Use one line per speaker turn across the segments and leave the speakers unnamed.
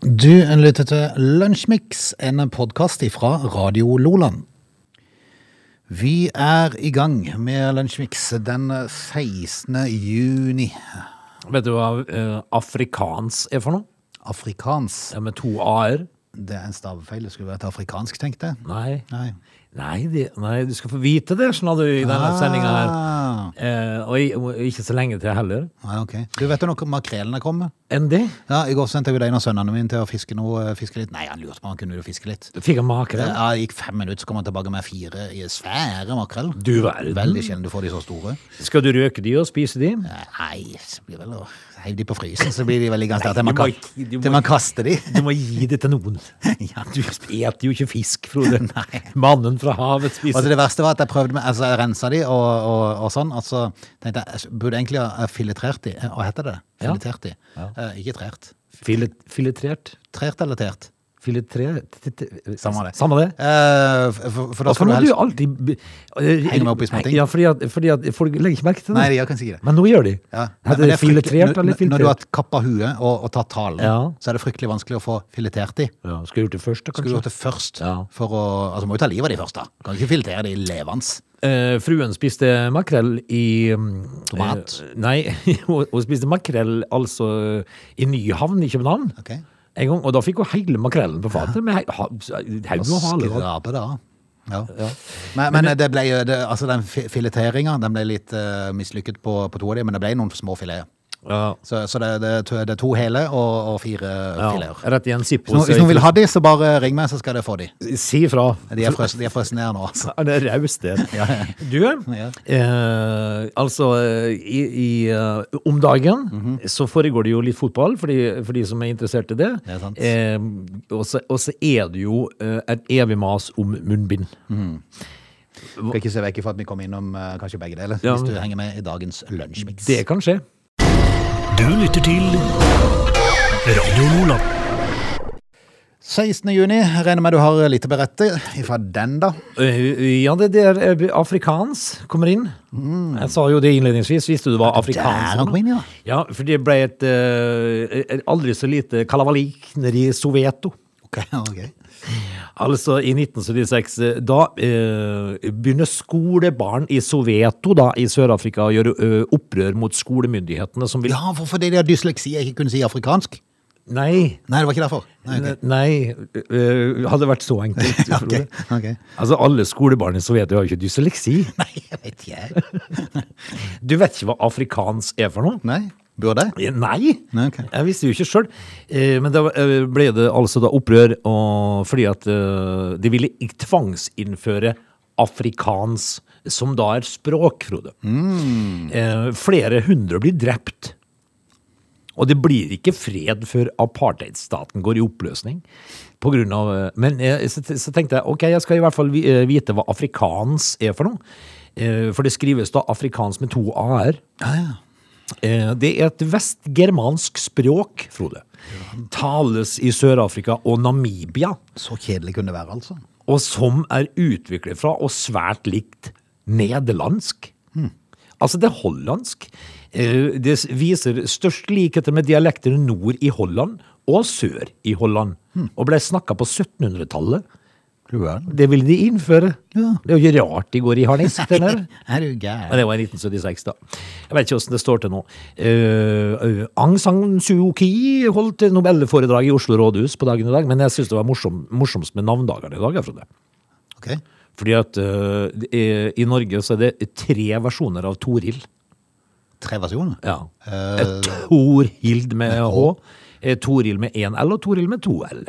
Du lytter til Lunsjmix, en podkast fra Radio Loland. Vi er i gang med Lunsjmix den 16. juni.
Vet du hva eh, afrikans er for noe?
Afrikans.
Ja, med to a-er?
Det er en stavefeil. Det skulle vært afrikansk, tenkte jeg.
Nei.
Nei.
Nei, det, nei, du skal få vite det, skjønner du, i denne sendinga her.
Ah.
Eh, og i- og ikke så lenge til heller.
Nei, ok. Du vet jo når makrelene kommer?
Enn det
Ja, I går sendte jeg jo en av sønnene mine til å fiske noe. eh, Fiske litt. Nei, han lurte på om han kunne ut og fiske litt.
fikk jeg makrell.
Ja, det gikk fem minutter, så kom han tilbake med fire i svære makrell.
Du verden.
Veldig sjelden du får de så store.
Skal du røke de og spise de?
Nei, så blir vel å heiv de på frysen, så blir de vel liggende der til
Nei,
man,
du må
ka-
ikke- du
til
må
man kaster de.
Du må gi det til noen.
Ja.
Du spiser jo ikke fisk, Frode. Mannen fra havet
Og
spiser
det verste var at jeg prøvde med, altså jeg rensa de og, og, og sånn, og så tenkte jeg, jeg burde egentlig ha filetrert de, Eh, hva heter det?
Ja.
Filetert de. Eh, ikke trert.
filet, filetrert.
Trert eller tert?
Filetrert
Samme det.
Samme det.
Eh, for, for da
For
skal du
nå har du
helst...
jo alltid
Henger
Henger
meg opp i små ting.
Ja, fordi at, fordi at folk legger ikke merke til det.
Nei, de gjør kanskje ikke det.
Men nå gjør de.
Ja. Nei, men
Hadde det
er fryktelig-
filetrert
når-
eller
Når du
filtrert?
har kappa huet og, og tatt talen,
Ja.
så er det fryktelig vanskelig å få filetert de.
Ja, skulle gjort det først, da,
Skulle du
kanskje.
gjort det først,
Ja.
for å... Altså, må jo ta livet av de først da. Kan ikke filetere de levans.
Eh, fruen spiste makrell i mm,
Tomat.
eh, nei, hun hun spiste makrell altså i Nyhavn i København.
Ok.
En gang, og da fikk hun hele makrellen på fatet med he- ha- s- haug og hale. og-
Skrape det av. Ja. Men, men det ble jo det, altså den fileteringa den ble litt eh, mislykket på, på to av de, men det ble noen små fileter.
Ja,
Så, så det, det, er to- det er to hele og, og fire
ja,
fileter.
rett i en
Hvis noen,
Zippo.
hvis noen vil ha de, så bare ring meg, så skal dere få de.
Si ifra.
De er frøs- de er frosne ned nå, altså.
Han er raus, det. Du,
Ja.
eh, altså eh, i, i, eh, om dagen
Mhm.
så foregår det jo litt fotball, for de, for de som er interessert i det.
Det er sant.
Eh, og, så, og så er det jo eh, et evig mas om munnbind.
Skal ikke se vekk ifra at vi kommer innom eh, kanskje begge deler,
Ja.
hvis du henger med i dagens lunsjmix.
Det kan skje.
Du lytter til Radio Lola.
16. juni, jeg regner med du har litt å berette ifra den, da.
Eh, ja, det der eh, afrikans kommer inn.
Mm.
Jeg sa jo det innledningsvis. Visste du hva afrikans
Der han kom inn, ja.
Ja, for det ble et, eh, et aldri så lite kalavalik nede i Soveto.
Ok, ok.
Altså, i 1976, eh, da eh, begynner skolebarn i Soveto da, i Sør-Afrika å gjøre eh, opprør mot skolemyndighetene som vil
Ja, for, fordi de har dysleksi og ikke kunne si afrikansk?
Nei,
Nei, det var ikke derfor. Nei, ok.
ne- nei, eh, hadde vært så enkelt.
Ja,
Frode.
ok, ok.
Altså, alle skolebarn i Soveto har jo ikke dysleksi.
Nei, jeg vet ikke.
Du vet ikke hva afrikans er for noe?
Nei, burde jeg?
Eh, Nei,
Nei, ok.
jeg visste jo ikke sjøl. Men da eh, ble det altså da opprør og fordi at eh, de ville ikke tvangsinnføre afrikans, som da er språk, Frode.
Mm.
Eh, Flere hundre blir drept. Og det blir ikke fred før apartheidstaten går i oppløsning. På grunn av, eh, men eh, så, så tenkte jeg ok, jeg skal i hvert fall vi- eh, vite hva afrikans er for noe. Eh, For det skrives da afrikans med to a-er.
Ja, ja.
Eh, Det er et vestgermansk språk, Frode. Tales i Sør-Afrika og Namibia,
Så kjedelig kunne det være, altså.
og som er utviklet fra og svært likt nederlandsk. Altså, det er hollandsk. Eh, Det s- viser størst likheter med dialekter nord i Holland og sør i Holland, og ble snakka på 1700-tallet.
Du er den.
Det ville de innføre.
Ja.
Det er jo ikke rart de går i harnisk, den der.
Er du
Men
gæren?
det var i 1976, da. Jeg vet ikke åssen det står til nå. Eh, eh, Aung San Suu Kyi holdt nobelforedrag i Oslo rådhus på dagen i dag, men jeg syns det var morsom, morsomst med navndagene i dag. jeg, Frode.
Ok.
Fordi at eh, det er- i Norge så er det tre versjoner av Toril.
Tre versjoner?
Ja.
Eh.
Eh, Torhild med H. Ah. eh, Toril med én L og Toril med to L.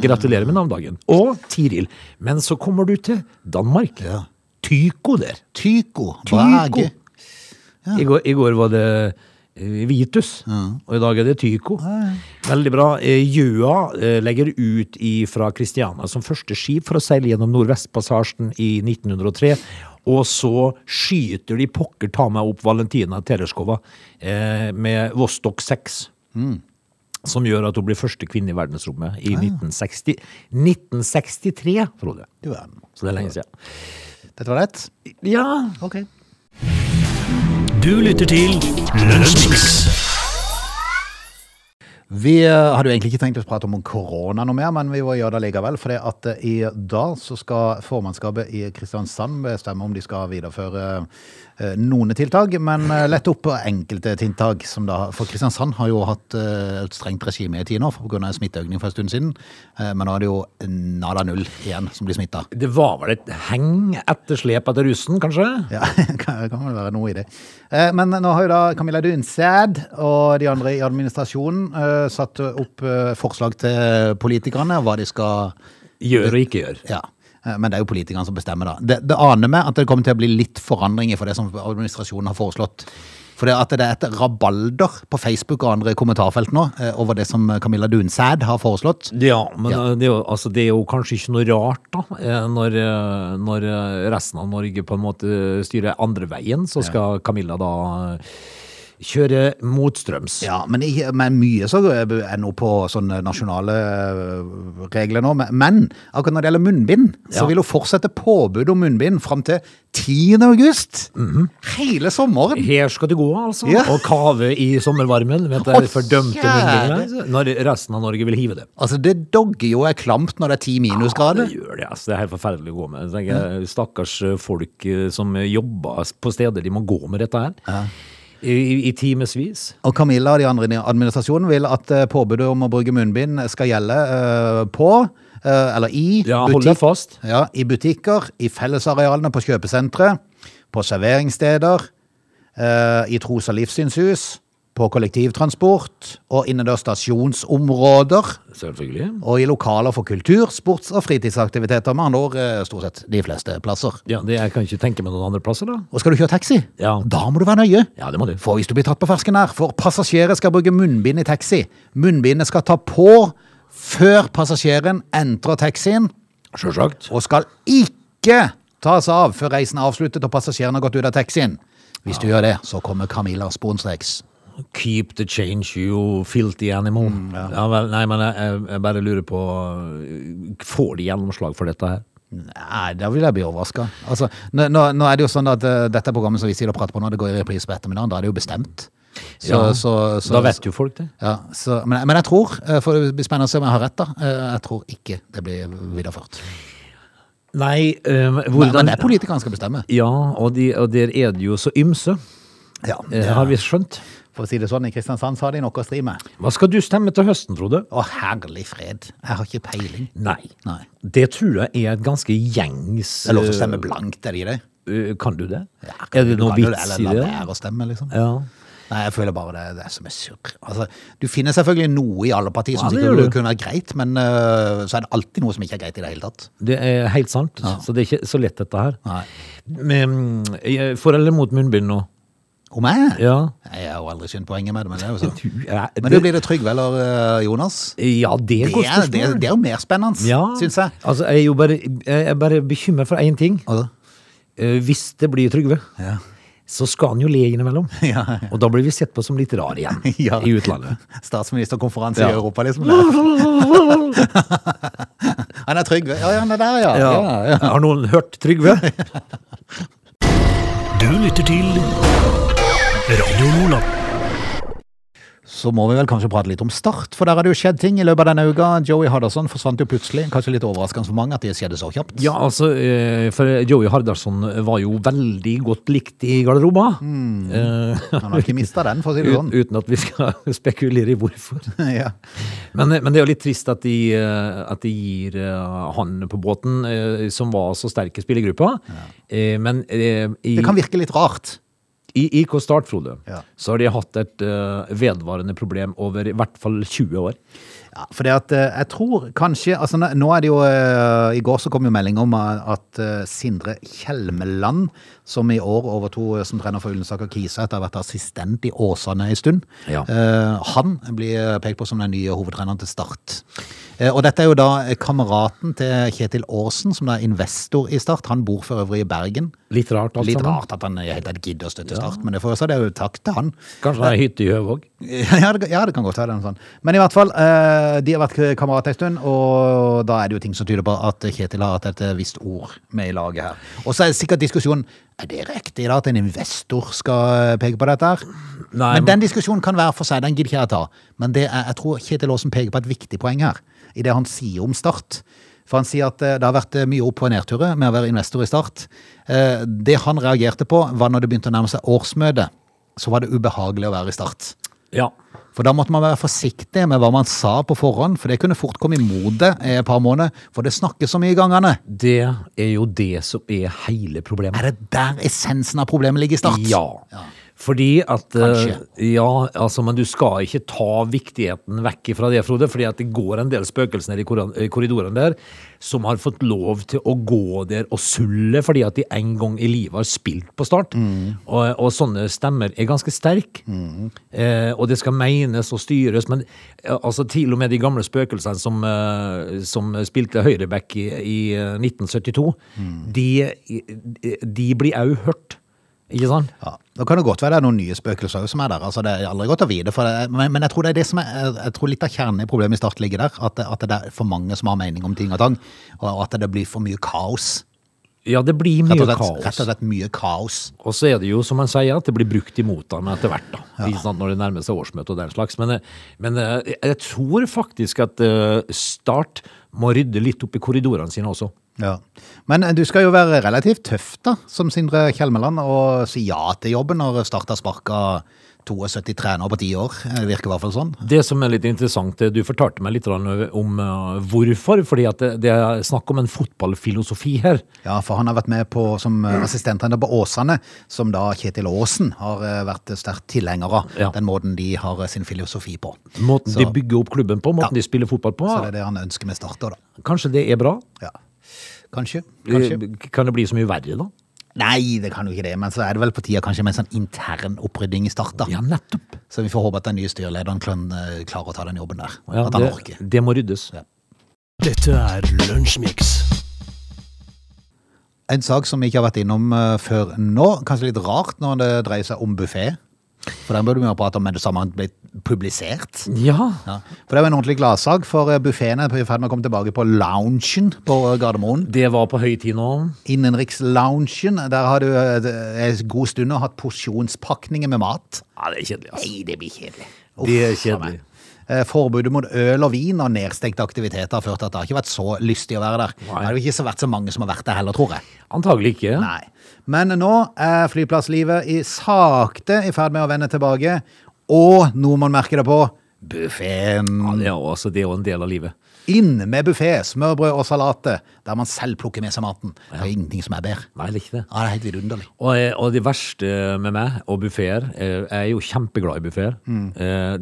Gratulerer med navndagen. Og Tiril. Men så kommer du til Danmark.
Ja.
Tyko der.
Tyko
Tyko.
Brage.
I, går, I går var det eh, Vitus, og i dag er det Tyko. Veldig bra. Eh, Gjøa eh, legger ut fra Kristiania som første skip for å seile gjennom Nordvestpassasjen i 1903. Og så skyter de pokker ta meg opp Valentina Tereskova eh, med Vostok 6. Som gjør at hun blir første kvinne i verdensrommet i 1960, 1963, Frode.
Du er den.
Så det er lenge siden.
Dette var lett?
Ja,
Ok.
Du lytter til Lunsjmix.
Vi eh, hadde jo egentlig ikke tenkt å prate om korona noe mer, men vi må gjøre det likevel. For at eh, i dag så skal formannskapet i Kristiansand bestemme om de skal videreføre eh, noen tiltak, men eh, lette opp på enkelte tiltak. Som da, for Kristiansand har jo hatt eh, et strengt regime i ti nå pga. smitteøkning for en stund siden. eh, Men nå er det jo nada null igjen som blir smitta.
Det var vel et heng etterslep etter russen, kanskje?
Ja, det kan kan vel være noe i det. Eh, Men nå har jo da Camilla Dunsæd og de andre i administrasjonen eh, satt opp eh, forslag til politikerne, hva de skal
Gjør og ikke gjør.
Ja. eh, Men det er jo politikerne som bestemmer, da. Det, det aner meg at det kommer til å bli litt forandringer for det som administrasjonen har foreslått. For det at det er et rabalder på Facebook og andre kommentarfelt nå eh, over det som Camilla Dunsæd har foreslått.
Ja, men
Ja.
eh, Det, er jo, altså, det er jo kanskje ikke noe rart, da. eh, Når, eh, når eh, resten av Norge på en måte styrer andre veien, så skal Camilla da eh, kjøre motstrøms.
Ja, men, ikke, men mye så er nå på sånne nasjonale øh, regler nå. Men- Men akkurat når det gjelder munnbind, så
Ja.
vil hun fortsette påbud om munnbind fram til 10. august. Hele sommeren.
Her skal du gå, altså,
Ja.
og kave i sommervarmen med
Å,
det fordømte
kjære.
munnbindet, når resten av Norge vil hive det.
Altså, det dogger jo er klamt når det er ti minusgrader.
Det gjør det, altså. Det er helt forferdelig å gå med. Så tenker jeg, Stakkars eh, folk eh, som jobber på steder de må gå med dette her. I, i- I timevis.
Og Camilla og de andre i administrasjonen vil at eh, påbudet om å bruke munnbind skal gjelde eh, på, eh, eller i,
Ja, hold deg
butikk-
fast.
Ja, i butikker, i fellesarealene på kjøpesentre, på serveringssteder, eh, i tros- og livssynshus, på kollektivtransport og innendørs stasjonsområder,
Selvfølgelig.
og i lokaler for kultur, sports- og fritidsaktiviteter, med andre ord eh, stort sett de fleste plasser.
Ja, det, jeg kan ikke tenke meg noen andre plasser, da.
Og skal du kjøre taxi?
Ja.
Da må du være nøye.
Ja, det må du.
For hvis du blir tatt på fersken her, for passasjerer skal bruke munnbind i taxi. Munnbindet skal ta på før passasjeren entrer taxien,
Sjølsagt.
og skal ikke tas av før reisen er avsluttet og passasjeren har gått ut av taxien. Hvis du gjør det, så kommer Camilla sporenstreks.
Keep the change, you filthy animal. Mm, ja. vel, nei, men jeg, jeg- jeg bare lurer på eh, Får de gjennomslag for dette her?
Nei, da vil jeg bli overraska. Altså, nå, nå, nå er det jo sånn at eh, dette programmet som vi sitter og prater på nå, det går i reprise på ettermiddagen. Da er det jo bestemt. Så,
Ja,
så- så-
Da vet jo folk det.
Ja, så, men, men jeg tror, eh, for det blir spennende å se om jeg har rett, da. eh, Jeg tror ikke det blir videreført.
Nei, eh,
Men,
hvordan
men det er politikerne som skal bestemme.
Ja, og, de, og der er det jo så ymse,
Ja,
eh, har vi skjønt.
For å si det sånn, i Kristiansand så har de noe å stri med.
Hva skal du stemme til høsten, Frode?
Å, herlig fred. Jeg har ikke peiling.
Nei.
Nei.
Det tror jeg er et ganske gjengs
Det er lov til å stemme blankt, er det ikke det?
eh, Kan du det?
Ja,
er det
du
Eh, noe
kan jo det,
vits i
Eller
det?
la være å stemme, liksom.
Ja.
Nei, jeg føler bare det, det er som er surr. Altså, du finner selvfølgelig noe i alle partier som
Ja, det
sikkert
gjør du.
kunne vært greit, men øh, så er det alltid noe som ikke er greit i det hele tatt.
Det er helt sant, så det er ikke så lett, dette her.
Nei.
Men, eh, for eller mot munnbind nå?
Om jeg?
Ja.
Nei, Jeg har jo aldri skjønt poenget med det, men det er jo
Du,
sånn.
ja,
Men du blir det trygg, vel, øh, Jonas?
Ja, det
Det
er et godt
er, det, er-
spørsmål.
det er jo mer spennende,
ja.
syns jeg.
Altså, jeg er jo bare, jeg er bare bekymret for én ting.
Og-
Eh, Hvis det blir Trygve,
Ja.
så skal han jo le innimellom.
Ja,
Og da blir vi sett på som litt rar igjen
Ja.
i utlandet.
Statsministerkonferanse
Ja.
i Europa, liksom. Han er trygg. Ja, ja, han er der, ja.
Ja.
ja. ja.
Har noen hørt Trygve?
Du lytter til Radio Lola.
Så må vi vel kanskje prate litt om Start, for der har det jo skjedd ting i løpet av denne uka. Joey Hardasson forsvant jo plutselig. Kanskje litt overraskende for mange at det skjedde så kjapt.
Ja, altså, eh, for Joey Hardarson var jo veldig godt likt i garderoba. Eh,
Han har ikke mista den, for å si Mm, det
ut,
sånn.
uten at vi skal spekulere i hvorfor.
Ja.
Men, men det er jo litt trist at de, eh, at de gir eh, han på båten, eh, som var så sterk i spillergruppa. Eh, Men eh, i,
Det kan virke litt rart.
i IK Start, Frode,
Ja.
så har de hatt et eh, vedvarende problem over i hvert fall 20 år.
Ja, for det at eh, jeg tror kanskje altså, nå- Nå er det jo eh, I går så kom jo melding om eh, at eh, Sindre Kjelmeland, som i år overtok eh, som trener for Ullensaker Kisa etter å ha vært assistent i Åsane en stund,
Ja.
eh, han blir pekt på som den nye hovedtreneren til Start. Eh, Og dette er jo da eh, kameraten til Kjetil Aarsen, som da er investor i Start. Han bor for øvrig i Bergen.
Litt rart, alt
Litt
sammen.
rart at han i det hele tatt gidder å støtte Start, men det får også det er jo takk til han.
Kanskje han har hytte i Høvåg.
Ja, det, ja, det kan godt være. det er noe sånt. Men i hvert fall, eh, de har vært kamerater en stund, og da er det jo ting som tyder på at Kjetil har hatt et eh, visst ord med i laget her. Og så er det sikkert diskusjonen er det riktig da at en investor skal eh, peke på dette. her?
Nei,
men den diskusjonen kan være for seg, den gidder ikke jeg ta. Men det er, jeg tror Kjetil Aasen peker på et viktig poeng her, i det han sier om Start. For han sier at eh, det har vært eh, mye opp- og nedturer med å være investor i Start. Eh, Det han reagerte på, var når det begynte å nærme seg årsmøte. Så var det ubehagelig å være i Start.
Ja.
For da måtte man være forsiktig med hva man sa på forhånd, for det kunne fort komme imot det i et par måneder, for det snakkes så mye i gangene.
Det er jo det som er hele problemet.
Er det der essensen av problemet ligger i start?
Ja. Fordi at eh,
Kanskje.
Ja, altså, men du skal ikke ta viktigheten vekk fra det, Frode. Fordi at det går en del spøkelser nede i koran- i korridoren der som har fått lov til å gå der og sulle fordi at de en gang i livet har spilt på Start. Og, og sånne stemmer er ganske sterke. Eh, og det skal menes og styres, men eh, altså, til og med de gamle spøkelsene som, eh, som spilte høyreback i, i eh, 1972, de, de blir òg hørt. Ikke sant?
Ja. Da kan det godt være det er noen nye spøkelser også som er der. altså Det er aldri godt å vite. For det, er- men, men jeg tror det er det som er, jeg- jeg tror litt av kjernen i problemet i Start ligger der. At, det- at det er for mange som har mening om ting og tang. Og at det blir for mye kaos.
Ja, det blir
Rett
mye
og slett, rett
kaos.
og slett mye kaos.
Og så er det jo, som han sier, at det blir brukt imot ham etter hvert, da. Ikke sant, når det nærmer seg årsmøte og den slags. Men, eh, men eh, jeg tror faktisk at eh, Start må rydde litt opp i korridorene sine også.
Ja. Men eh, du skal jo være relativt tøff da, som Sindre Kjelmeland, og si ja til jobben når Start har sparka 72 trenere på ti år. Eh, Virker i hvert fall sånn.
Det som er litt interessant, eh, du fortalte meg litt grann om eh, hvorfor. Fordi at det, det er snakk om en fotballfilosofi her.
Ja, for han har vært med på som eh, assistenttrener på Åsane, som da Kjetil Aasen har eh, vært sterkt tilhenger av.
Ja.
Den måten de har eh, sin filosofi på.
Måten
Så-
de bygger opp klubben på, måten
Ja.
de spiller fotball på.
Så det er det han ønsker med Start òg, da.
Kanskje det er bra?
Ja. Kanskje. Kanskje.
Eh, Kan det bli så mye verre, da?
Nei, det kan jo ikke det, men så er det vel på tide kanskje med en sånn intern opprydding i Start, da.
Ja, nettopp.
Så vi får håpe at den nye styrelederen kan eh, klare å ta den jobben der.
Ja,
at han
det,
orker.
det må ryddes.
Ja.
Dette er Lunsjmix.
En sak som vi ikke har vært innom eh, før nå, kanskje litt rart når det dreier seg om buffé. For den burde vi jo prate om med det samme han ble publisert.
Ja,
Ja. For det er jo en ordentlig gladsak, for buffeen er i ferd med å komme tilbake på loungen på Gardermoen.
det var på høy tid nå.
Innenriksloungen. Der har du eh, en god stund hatt porsjonspakninger med mat.
Ja, det er kjedelig, altså.
Nei, det blir kjedelig.
Det er
Uff,
kjedelig.
faen meg. Eh, Forbudet mot øl og vin og nedstengte aktiviteter har ført til at det har ikke vært så lystig å være der.
Nei.
Det har jo ikke så vært så mange som har vært der heller, tror jeg.
Antagelig ikke.
Nei. Men nå er flyplasslivet i sakte i ferd med å vende tilbake, og noe man merker det på, buffeen.
Ja, det, er jo, altså, det er jo en del av livet.
Inn med buffé, smørbrød og salater, der man selv plukker med seg maten. Det er ingenting som er bedre.
Nei, det er ikke det.
Ja, det er helt vidunderlig.
Og, eh, og det verste med meg og buffeer eh, Jeg er jo kjempeglad i buffeer.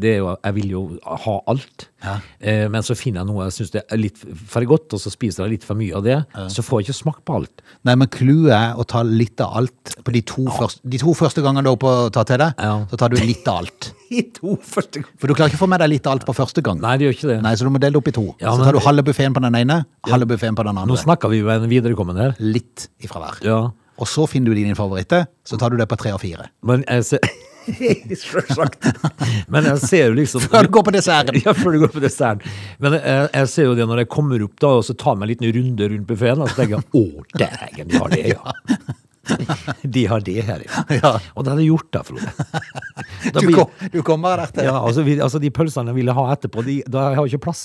Jeg vil jo ha alt.
Ja.
Eh, Men så finner jeg noe jeg syns er litt for godt, og så spiser jeg litt for mye av det. Så får jeg ikke smakt på alt.
Nei, men clouet er å ta litt av alt på de to, første, de to første gangene du er oppe og tar til deg.
Ja.
Så tar du litt av alt.
I to første
For du klarer ikke å få med deg litt av alt på første gang.
Nei, det gjør ikke det.
Nei, så du må dele det opp i to.
Ja,
så
men-
tar du halve buffeen på den ene, halve buffeen på den
Nå
andre.
snakker vi jo med en viderekommende her.
Litt ifra hver.
Ja.
Og så finner du din favoritte, så tar du det på tre og fire.
Men jeg ser Selvsagt. Men jeg ser jo liksom
Før du går på desserten.
Ja, før du går på desserten. Men jeg, jeg ser jo det når jeg kommer opp da, og så tar meg en liten runde rundt buffeen, og så tenker jeg, å, dægen, de har det, ja. De har det her,
Ja.
Og det hadde jeg gjort da, Frode. Da
Du,
blir-
kom, du kommer der til.
Ja, altså, vi, altså de pølsene jeg ville ha etterpå, de, da har jeg ikke plass.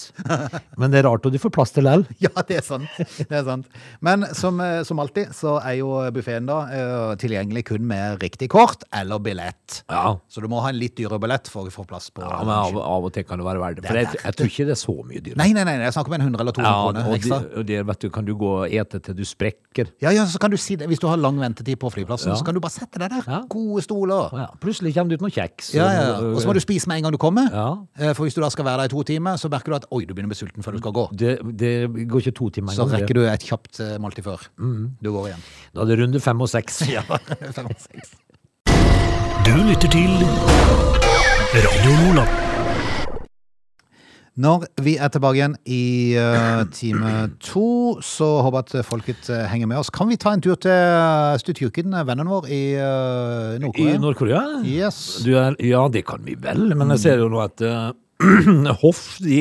Men det er rart, og du får plass til lell.
Ja, det er sant. Det er sant. Men som, eh, som alltid så er jo buffeen da eh, tilgjengelig kun med riktig kort eller billett.
Ja.
Så du må ha en litt dyrere billett for å få plass på
Ja, men av, av og til kan det være verdt det. For
Det er
jeg, jeg tror ikke det er så mye dyr.
Nei, nei, nei, jeg snakker om en 100 eller 200
Ja,
kroner
og
ekstra.
det, og det, vet du, kan du gå og ete til du sprekker.
Ja, ja, så kan du si det. Hvis du har lang ventetid på flyplassen,
Ja.
så kan du bare sette deg der.
Ja.
Gode stoler.
Å Ja, plutselig kommer det ut noen kjeks.
Ja, ja, ja. Og så må du spise med en gang du kommer.
Ja.
Eh, For hvis du da skal være der i to timer, så merker du at oi, du begynner å bli sulten før du skal gå.
Det, det går ikke to timer
Så
engang, det.
rekker du et kjapt eh, måltid før
Mm.
du går igjen.
Da er det runde fem og seks.
Fem, seks.
Du lytter til Radio Lola.
Når vi er tilbake igjen i eh, time to, så håper jeg at folket eh, henger med oss. Kan vi ta en tur til Stutjukken, vennen vår i eh,
I
Nord-Korea?
Nord-Korea?
Yes.
Du er, ja, det kan vi vel, men jeg ser jo nå at eh, Hoff de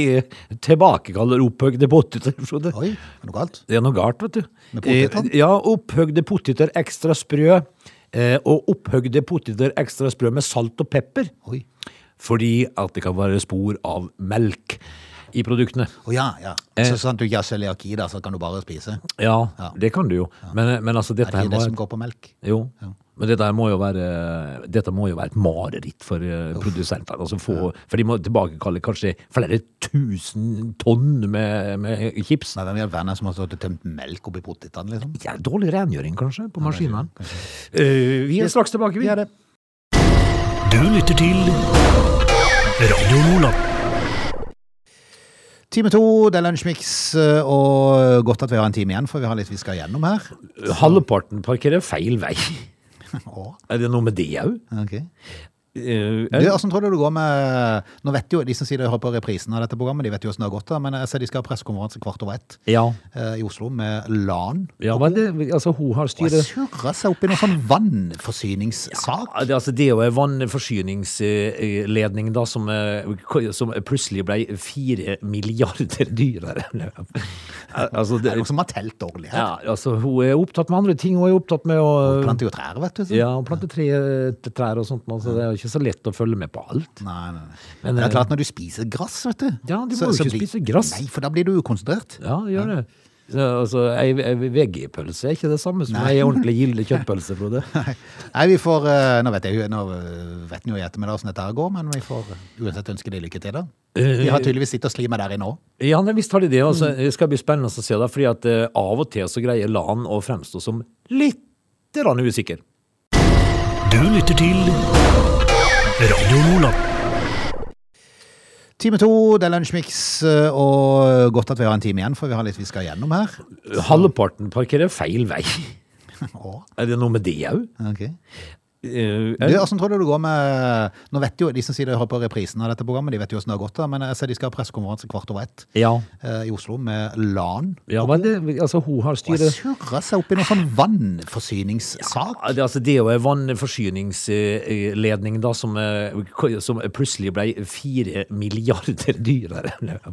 tilbakekaller opphøgde poteter. Frode.
Oi, er det noe galt?
Det er noe galt, vet du.
Med potetene?
Eh, ja, opphøgde poteter ekstra sprø, eh, og opphøgde poteter ekstra sprø med salt og pepper.
Oi.
Fordi at det kan være spor av melk i produktene.
Å ja, ja.
Eh.
Så sant du ikke har cøliaki, da, så kan du bare spise. Er
Ja,
Ja.
det kan du jo. Men, men altså, dette
det
her
ikke
må
det som går på melk?
Jo. Men dette her må jo være Dette må jo være et mareritt for eh, produsentene. Altså få, For de må tilbakekalle kanskje flere tusen tonn med, med chips.
Nei, hvem i all verden er det som har stått og tømt melk oppi potetene, liksom?
Det er dårlig rengjøring, kanskje, på maskinene. Eh, vi er straks tilbake, vi.
Ja, det.
Du lytter til Radio Nordland.
Time to, det er Lunsjmix, eh, og godt at vi har en time igjen, for vi har litt vi skal gjennom her.
Halvparten parkerer feil vei.
Å,
Er det noe med det òg?
ok.
Eh,
Du, Hvordan tror du det går med Nå vet jo de som sier de hører på reprisen av dette programmet, de vet jo hvordan det har gått, da, men jeg ser de skal ha pressekonferanse kvart over ett
ja.
eh, i Oslo med LAN.
ja men det, altså, hun har
Og
styret
jeg surrer seg opp i noen sånn vannforsyningssak.
Ja, det, altså, det er jo en vannforsyningsledning da, som, eh, ko- som plutselig ble fire milliarder dyrere. Al- altså,
Det er noen
det,
som har telt dårlig her.
ja, altså, hun er opptatt med andre ting. Hun er opptatt med å
Planter jo trær, vet du. så-
ja, hun planter tre, trær og sånt, nå, så det er jo ikke så lett å følge med på alt.
Nei, nei, nei.
Men,
det er
eh,
klart når du spiser gress, vet du.
Ja, du må jo ikke spise gress.
Nei, for da blir du ukonsentrert.
Ja, gjør det. Så, altså, ei, ei VG-pølse er ikke det samme som ei ordentlig gilde kjøttpølse, Frode.
Nei, vi får eh, Nå vet jeg jo- nå eh, vet en jo i ettermiddag hvordan dette her går, men vi får eh, uansett ønske de lykke til, da.
Eh,
De har tydeligvis sittet og slimet der i nå.
Ja, nei, visst har de det. Altså, det skal bli spennende å se det, fordi at eh, av og til så greier Lan å fremstå som litt grann usikker.
Du lytter til Radio Nordland.
Time to, det er Lunsjmix, eh, og godt at vi har en time igjen, for vi har litt vi skal gjennom her.
Halvparten parkerer feil vei.
Å,
Er det noe med det òg?
ok. Du,
Uh,
Hvordan tror du det går med Nå vet jo de som sier de hører på reprisen av dette programmet, de vet jo hvordan det har gått, da, men jeg ser de skal ha pressekonferanse kvart over ett
ja.
eh, i Oslo med LAN.
ja, men det, altså, hun har
Og jeg
styret
surrer seg opp i noen sånn vannforsyningssak.
Ja, det- altså, det er jo en vannforsyningsledning da, som, eh, ko- som plutselig ble fire milliarder dyrere.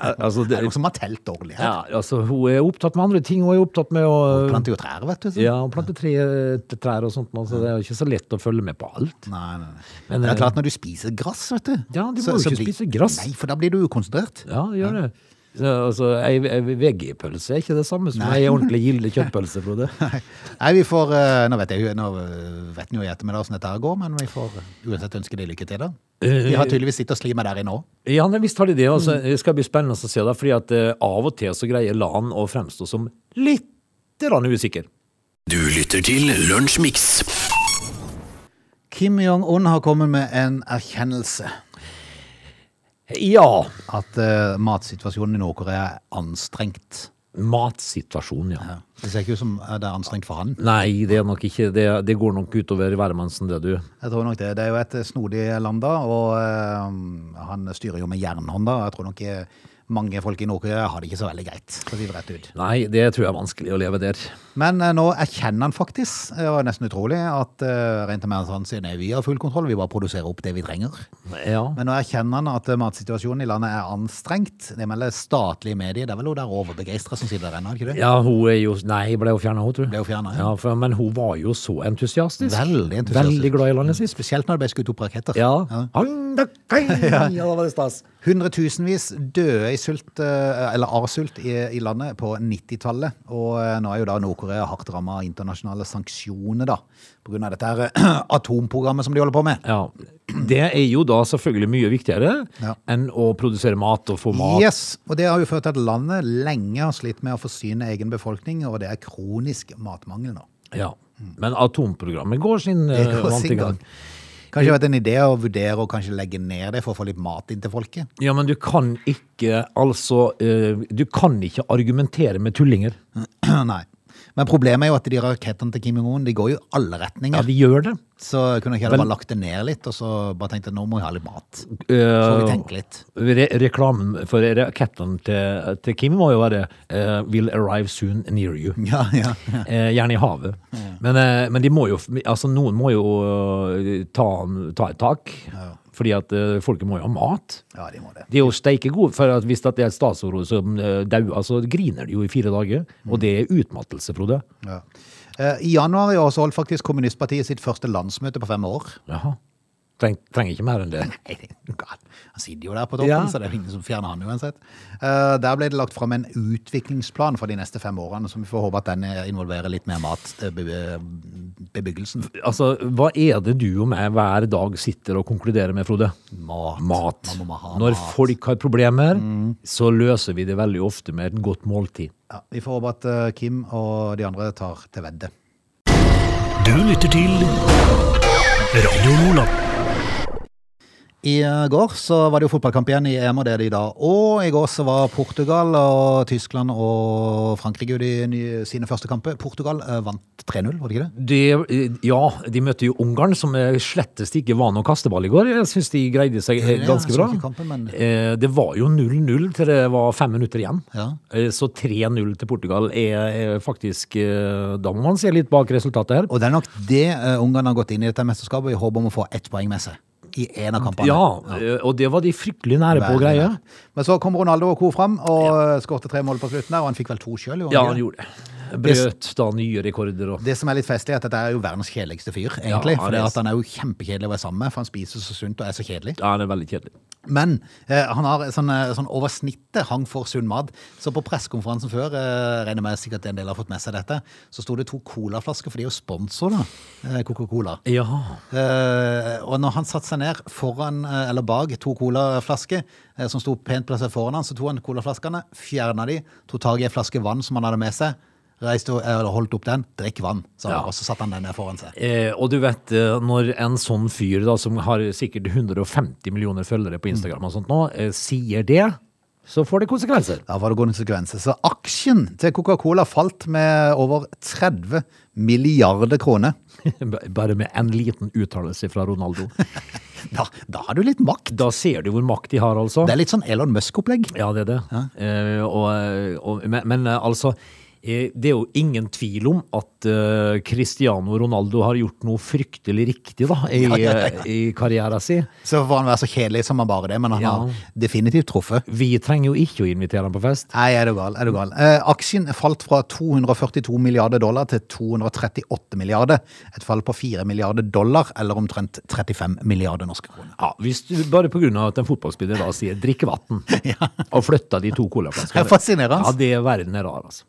Al- altså,
Det er
det,
noen som har telt dårlig her.
ja, altså, hun er opptatt med andre ting. Hun er opptatt med å
Planter jo trær, vet du. så-
Ja, og plante tre, eh, trær og sånt, nå, så det er jo ikke så lett å følge med på alt.
Nei, nei, nei.
Men,
det er
eh,
klart når du spiser gress, vet du.
Ja, du må jo ikke
blir-
spise gress.
Nei, for da blir du ukonsentrert.
Ja, gjør det. Så, altså, ei, ei VG-pølse er ikke det samme som ei ordentlig gilde kjøttpølse, Frode.
Nei, vi får eh, Nå vet jeg jo Nå eh, vet en jo i ettermiddag hvordan dette her går, men vi får uansett ønske de lykke til, da. De har tydeligvis sittet og slimet der i nå.
Ja, nei, visst har de det. Altså, det skal bli spennende å se det, fordi at eh, av og til så greier Lan å fremstå som litt grann usikker.
Du lytter til Lunsjmix.
Kim Jong-un har kommet med en erkjennelse
Ja,
at eh, matsituasjonen i Nord-Korea er anstrengt.
matsituasjonen, ja.
Det ser ikke ut som eh, det er anstrengt for han.
Nei, det er nok ikke Det, det går nok utover hvermannsen, det du.
Jeg tror nok Det Det er jo et snodig land, da, og eh, han styrer jo med jernhånd. da. Jeg tror nok eh, mange folk i Nord-Korea har det ikke så veldig greit. for å si det rett ut.
Nei, det tror jeg er vanskelig å leve der.
Men eh, nå erkjenner han faktisk, eh, det var nesten utrolig, at eh, rent med han sier nei, vi har full kontroll, vi bare produserer opp det vi trenger.
Ja.
Men nå erkjenner han at eh, matsituasjonen i landet er anstrengt. Det melder statlige medier. Det er vel hun der overbegeistra som sier det ennå, er det ikke det?
Ja, hun er jo Nei, ble hun fjerna, hun, tror jeg.
Ble hun fjernet, ja.
ja. for, men hun var jo så entusiastisk.
Veldig entusiastisk.
Veldig glad i landet sitt.
Spesielt når det ble skutt opp raketter.
Ja. Handakai! ja. da var det stas.
Hundretusenvis døde i sult, eh, eller av sult i, i landet på 90-tallet. Og eh, nå er jo da Nord-Korea hardt ramma av internasjonale sanksjoner, da. På grunn av dette her eh, atomprogrammet som de holder på med.
Ja. Det er jo da selvfølgelig mye viktigere
Ja.
enn å produsere mat og få mat.
Yes, og Det har jo ført til at landet lenge har slitt med å forsyne egen befolkning, og det er kronisk matmangel nå.
Ja. Men atomprogrammet går sin
Det
eh,
går sin
vante
gang.
gang.
Kanskje det har vært en idé å vurdere å kanskje legge ned det for å få litt mat inn til folket?
Ja, men du kan ikke altså eh, Du kan ikke argumentere med tullinger.
Nei. Men problemet er jo at de rakettene til Kim Jong-un de går jo i alle retninger.
Ja, de gjør det.
Så kunne jeg heller bare lagt det ned litt, og så bare tenkte jeg nå må jeg ha litt mat. Så
Øh.
får vi tenke litt.
Eh, Re reklamen for rakettene til, til Kim må jo være eh, Will arrive soon near you.
Ja, ja, ja.
Eh, gjerne i havet. Men, eh, men de må jo, altså, noen må jo eh, ta, ta et tak. Fordi at eh, folket må jo ha mat.
ja de må det.
De er jo steike gode, for at hvis at det er et statsråd som eh, dauer, så griner de jo i fire dager. Og det er utmattelse, Frode.
Ja. Eh, I januar i år så holdt faktisk Kommunistpartiet sitt første landsmøte på fem år.
Jaha. Treng, trenger ikke mer enn det.
Nei, det er jo galt. Han sitter jo der på toppen,
Ja.
så det er jo ingen som fjerner han uansett. Eh, der ble det lagt fram en utviklingsplan for de neste fem årene, som vi får håpe at den eh, involverer litt mer mat til be- bebyggelsen.
Altså, hva er det du og meg hver dag sitter og konkluderer med, Frode?
Mat.
Mat.
Man må ha
Når
mat.
folk har problemer, så løser vi det veldig ofte med et godt måltid.
Ja, vi får håpe at eh, Kim og de andre tar til vedde.
Du lytter til Radio Nordland.
I eh, går så var det jo fotballkamp igjen i EM, og det er det i dag. Og i går så var Portugal og Tyskland og Frankrike ute i ny- sine første kamper. Portugal eh, vant 3-0, var det ikke det?
De, ja, de møtte jo Ungarn, som eh, slettest ikke var noe kasteball i går. Jeg syns de greide seg eh,
Ja,
ganske
jeg så
bra.
ikke kampen, men-
Eh, Det var jo 0-0 til det var fem minutter igjen.
Ja.
Eh, Så 3-0 til Portugal er er faktisk eh, Da må man se litt bak resultatet her.
Og det er nok det eh, Ungarn har gått inn i dette mesterskapet i håp om å få ett poeng med seg. I en av kampene.
Ja, eh, og det var de fryktelig nære på,
Veldig
greia.
nær. Men så kom Ronaldo og co. fram og eh, skårte tre mål på slutten. der, Og han fikk vel to sjøl.
Ja, han gjorde det. Brøt da nye rekorder og
Det som er litt festlig, er at dette er jo verdens kjedeligste fyr. egentlig,
Ja,
For
det
det
er-
at han er jo kjempekjedelig å være sammen med, for han spiser så sunt og er så kjedelig.
Ja, det er veldig kjedelig.
Men eh, han har sånn, eh, sånn over snittet hang for sunn mat. Så på pressekonferansen før, eh, regner med sikkert en del har fått med seg dette, så sto det to colaflasker, for de er jo sponsor, da. Eh, Coca-Cola.
Ja.
Eh, og når han satte seg ned foran, eh, eller bak to colaflasker eh, som sto pent plassert foran han, så tok han colaflaskene, fjerna de, tok tak i en flaske vann som han hadde med seg, reiste og eller holdt opp den, drikk vann, sa han,
Ja.
og så satte han den der foran seg.
Eh, og du vet, eh, når en sånn fyr da, som har sikkert 150 millioner følgere på Instagram og sånt nå, eh, sier det, så får det konsekvenser.
Da var det konsekvenser. Så aksjen til Coca-Cola falt med over 30 milliarder kroner.
B- Bare med en liten uttalelse fra Ronaldo.
Da, da har du litt makt.
Da ser du hvor makt de har, altså.
Det er litt sånn Elon Musk-opplegg.
Ja, det er det. Eh, og, og, men, men eh, altså, eh, det er jo ingen tvil om at eh, Cristiano Ronaldo har gjort noe fryktelig riktig da, i, eh,
Ja, ja, ja.
i karrieren sin.
Så får han være så kjedelig som han bare det, men han
Ja.
har definitivt truffet.
Vi trenger jo ikke å invitere ham på fest.
Nei, er du gal. Er du gal. Eh, aksjen falt fra 242 milliarder dollar til 238 milliarder. Et fall på 4 milliarder dollar, eller omtrent 35 milliarder norske kroner.
Ja, hvis du, Bare pga. at en fotballspiller da sier 'drikke vann', og flytta de to colaflaskene.
Det er fascinerende.
Ja, det er verden er rar, altså.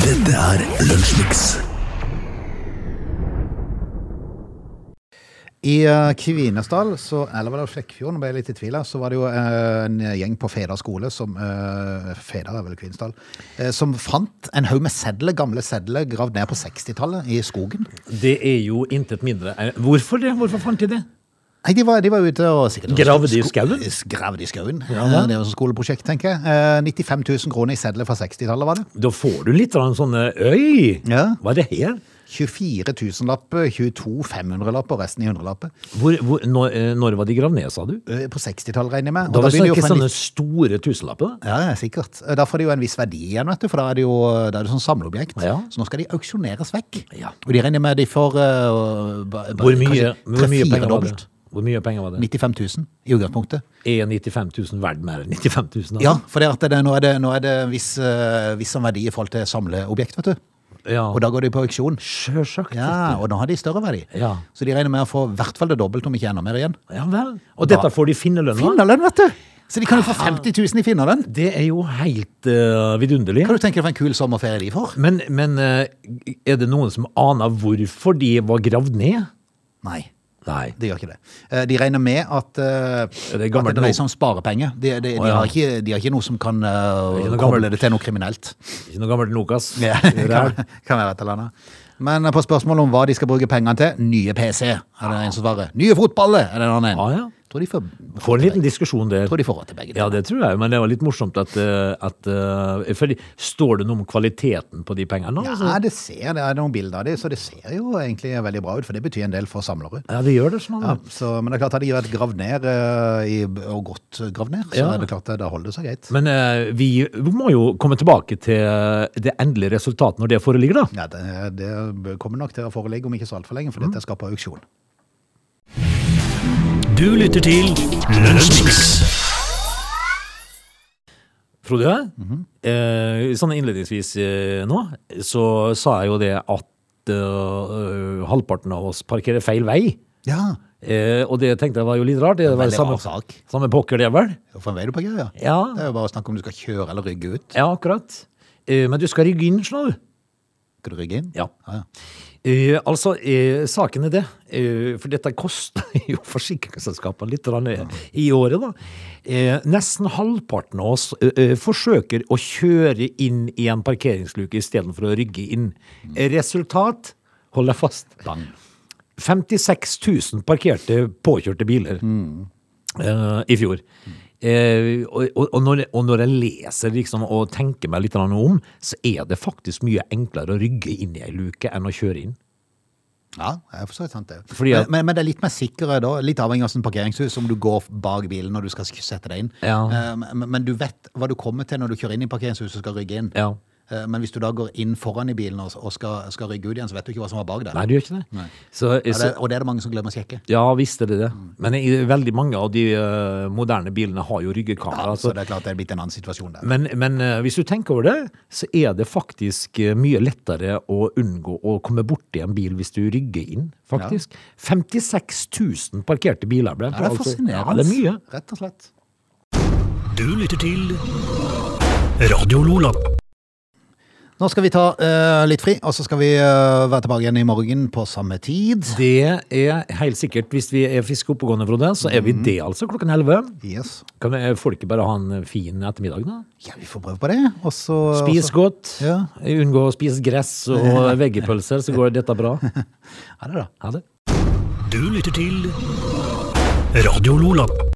Dette er Lunsjmix.
I eh, Kvinesdal, så, eller var det Flekkfjord, nå ble jeg litt i tvil, her, så var det jo eh, en gjeng på Fedar skole som eh, Fedar er vel Kvinesdal. Eh, som fant en haug med sedler, gamle sedler gravd ned på 60-tallet i skogen.
Det er jo intet mindre eh, Hvorfor det? Hvorfor fant de det?
Nei, de var, de var ute og sikkert
Gravde i skauen?
Sko- Gravde i skauen.
da.
Eh, Det var et skoleprosjekt, tenker jeg. Eh, 95 000 kroner i sedler fra 60-tallet, var det?
Da får du litt av en sånn eh, Øy!
Ja.
Hva er det her?
24 000-lapper, 22 500-lapper eh, og resten i 100-lapper.
Hvor, hvor, når, eh, når var de gravd ned, sa du?
Eh, På 60-tallet, regner jeg med. Og
Da var det
begynner jo
ikke
fra
sånne
nitt-
store tusenlapper? da?
Ja, ja, sikkert. Eh, Da får de jo en viss verdi igjen, vet du, for da er det jo da er det sånn samleobjekt.
Ja.
Så nå skal de auksjoneres vekk.
Ja.
Og de regner med de får eh, ba- ba-
Hvor mye,
kanskje
hvor mye
tre-fire
penger var det?
dobbelt.
Hvor mye penger var det?
95 000 i utgangspunktet.
Er 95 000 verdt mer enn 95 000? altså?
Ja, for det at det, nå er det, nå er det en viss, eh, viss sånn verdi i forhold til samleobjekt, vet du.
ja.
Og da går de på auksjon.
Sjølsagt.
Ja, og nå har de større verdi.
Ja.
Så de regner med å få i hvert fall det dobbelt, om ikke enda mer igjen.
Ja vel. Og dette får de finnelønna?
Finnerlønn, vet du! Så de kan jo
Ah.
få 50 000 i finnerlønn.
Det er jo helt eh, vidunderlig.
Kan du tenke deg for en kul sommerferie de får?
Men, men eh, er det noen som aner hvorfor de var gravd ned?
Nei,
Nei.
det gjør ikke det. Eh, De regner med at eh,
Det er
at
gammelt
det dreier
nå.
seg om sparepenger. De, de, de,
Å, ja.
har ikke, de har ikke noe som kan eh,
ikke noe
koble
gammelt.
det til noe kriminelt.
Ikke noe gammelt nok, ass.
Ja,
Det
kan,
er-
kan være et eller annet. Men eh, på spørsmålet om hva de skal bruke pengene til, nye PC, er det en som svarer. Nye fotballer, er det en annen.
Ah, ja.
Tror de får,
Få en liten diskusjon der.
tror de får råd til begge.
Ja, det tror jeg, men det var litt morsomt at, eh, at eh, fordi, Står det noe om kvaliteten på de pengene?
Ja,
altså?
det ser det er noen bilder av det, så det ser jo egentlig veldig bra ut, for det betyr en del for samlere.
ja, det gjør det. sånn.
Ja, så, men det er klart, hadde de vært gravd ned, eh, i, og godt gravd ned, så
Ja.
er det klart, eh, da holder det seg greit.
Men eh, vi må jo komme tilbake til det endelige resultatet når det foreligger, da.
Ja, det, det bør- kommer nok til å foreligge om ikke så altfor lenge, for
Mm.
dette skal på auksjon.
Du lytter til Lunsjmix.
Frode, eh, sånn innledningsvis eh, nå, så sa jeg jo det at eh, halvparten av oss parkerer feil vei.
Ja,
Eh, og det tenkte jeg var jo litt rart. Det var
veldig rar
samme,
sak.
samme pokker, det vel?
For en vei du på ja.
Ja.
Det er jo bare å snakke om du skal kjøre eller rygge ut.
Ja, akkurat. Eh, men du skal rygge inn, skjønner du.
Skal du rygge inn?
Ja.
Ja, ja.
Eh, altså, eh, saken er det, eh, for dette koster jo forsikringsselskapene litt grann, eh, i året, da. Eh, nesten halvparten av oss eh, eh, forsøker å kjøre inn i en parkeringsluke istedenfor å rygge inn. Eh, Resultat, hold deg fast,
Bang.
56 000 parkerte påkjørte biler eh, i fjor. Eh, og, og, og når, og når jeg leser liksom, og tenker meg litt grann om, så er det faktisk mye enklere å rygge inn i ei luke enn å kjøre inn.
Ja, det er for så vidt sant det.
Fordi at-
men, men, men det er litt mer sikre da, litt avhengig av sånn parkeringshus, om du går bak bilen når du skal sette deg inn.
Ja.
Eh, Men, men du vet hva du kommer til når du kjører inn i parkeringshuset og skal rygge inn.
Ja.
Eh, Men hvis du da går inn foran i bilen og og skal, skal rygge ut igjen, så vet du ikke hva som var bak der.
Nei, du gjør ikke det.
Nei.
Så,
Ja,
så,
det, Mm. og det er det mange som glemmer å sjekke.
ja, visst er det det. Men i, veldig mange av de eh, moderne bilene har jo ryggekamera.
Ja,
altså.
så det er klart det er blitt en annen situasjon der.
men, men eh, hvis du tenker over det, så er det faktisk eh, mye lettere å unngå å komme borti en bil hvis du rygger inn, faktisk. 56 000 parkerte biler ble
Ja, det er
altså- Ja,
fascinerende. altså.
det er mye.
Rett og slett.
Du lytter til Radio Lola.
Nå skal vi ta eh, litt fri, og så skal vi eh, være tilbake igjen i morgen på samme tid.
Det er helt sikkert. Hvis vi er friske og oppegående, Frode, så er vi
Mhm.
det altså klokken 11.
Yes.
Kan eh, folk ikke bare ha en fin ettermiddag, da?
Ja, vi får prøve på det. Og så
Spis godt.
Ja.
Unngå å spise gress og veggepølser, så går dette bra.
Ha det, da.
Ha det.
Du lytter til Radio Lola.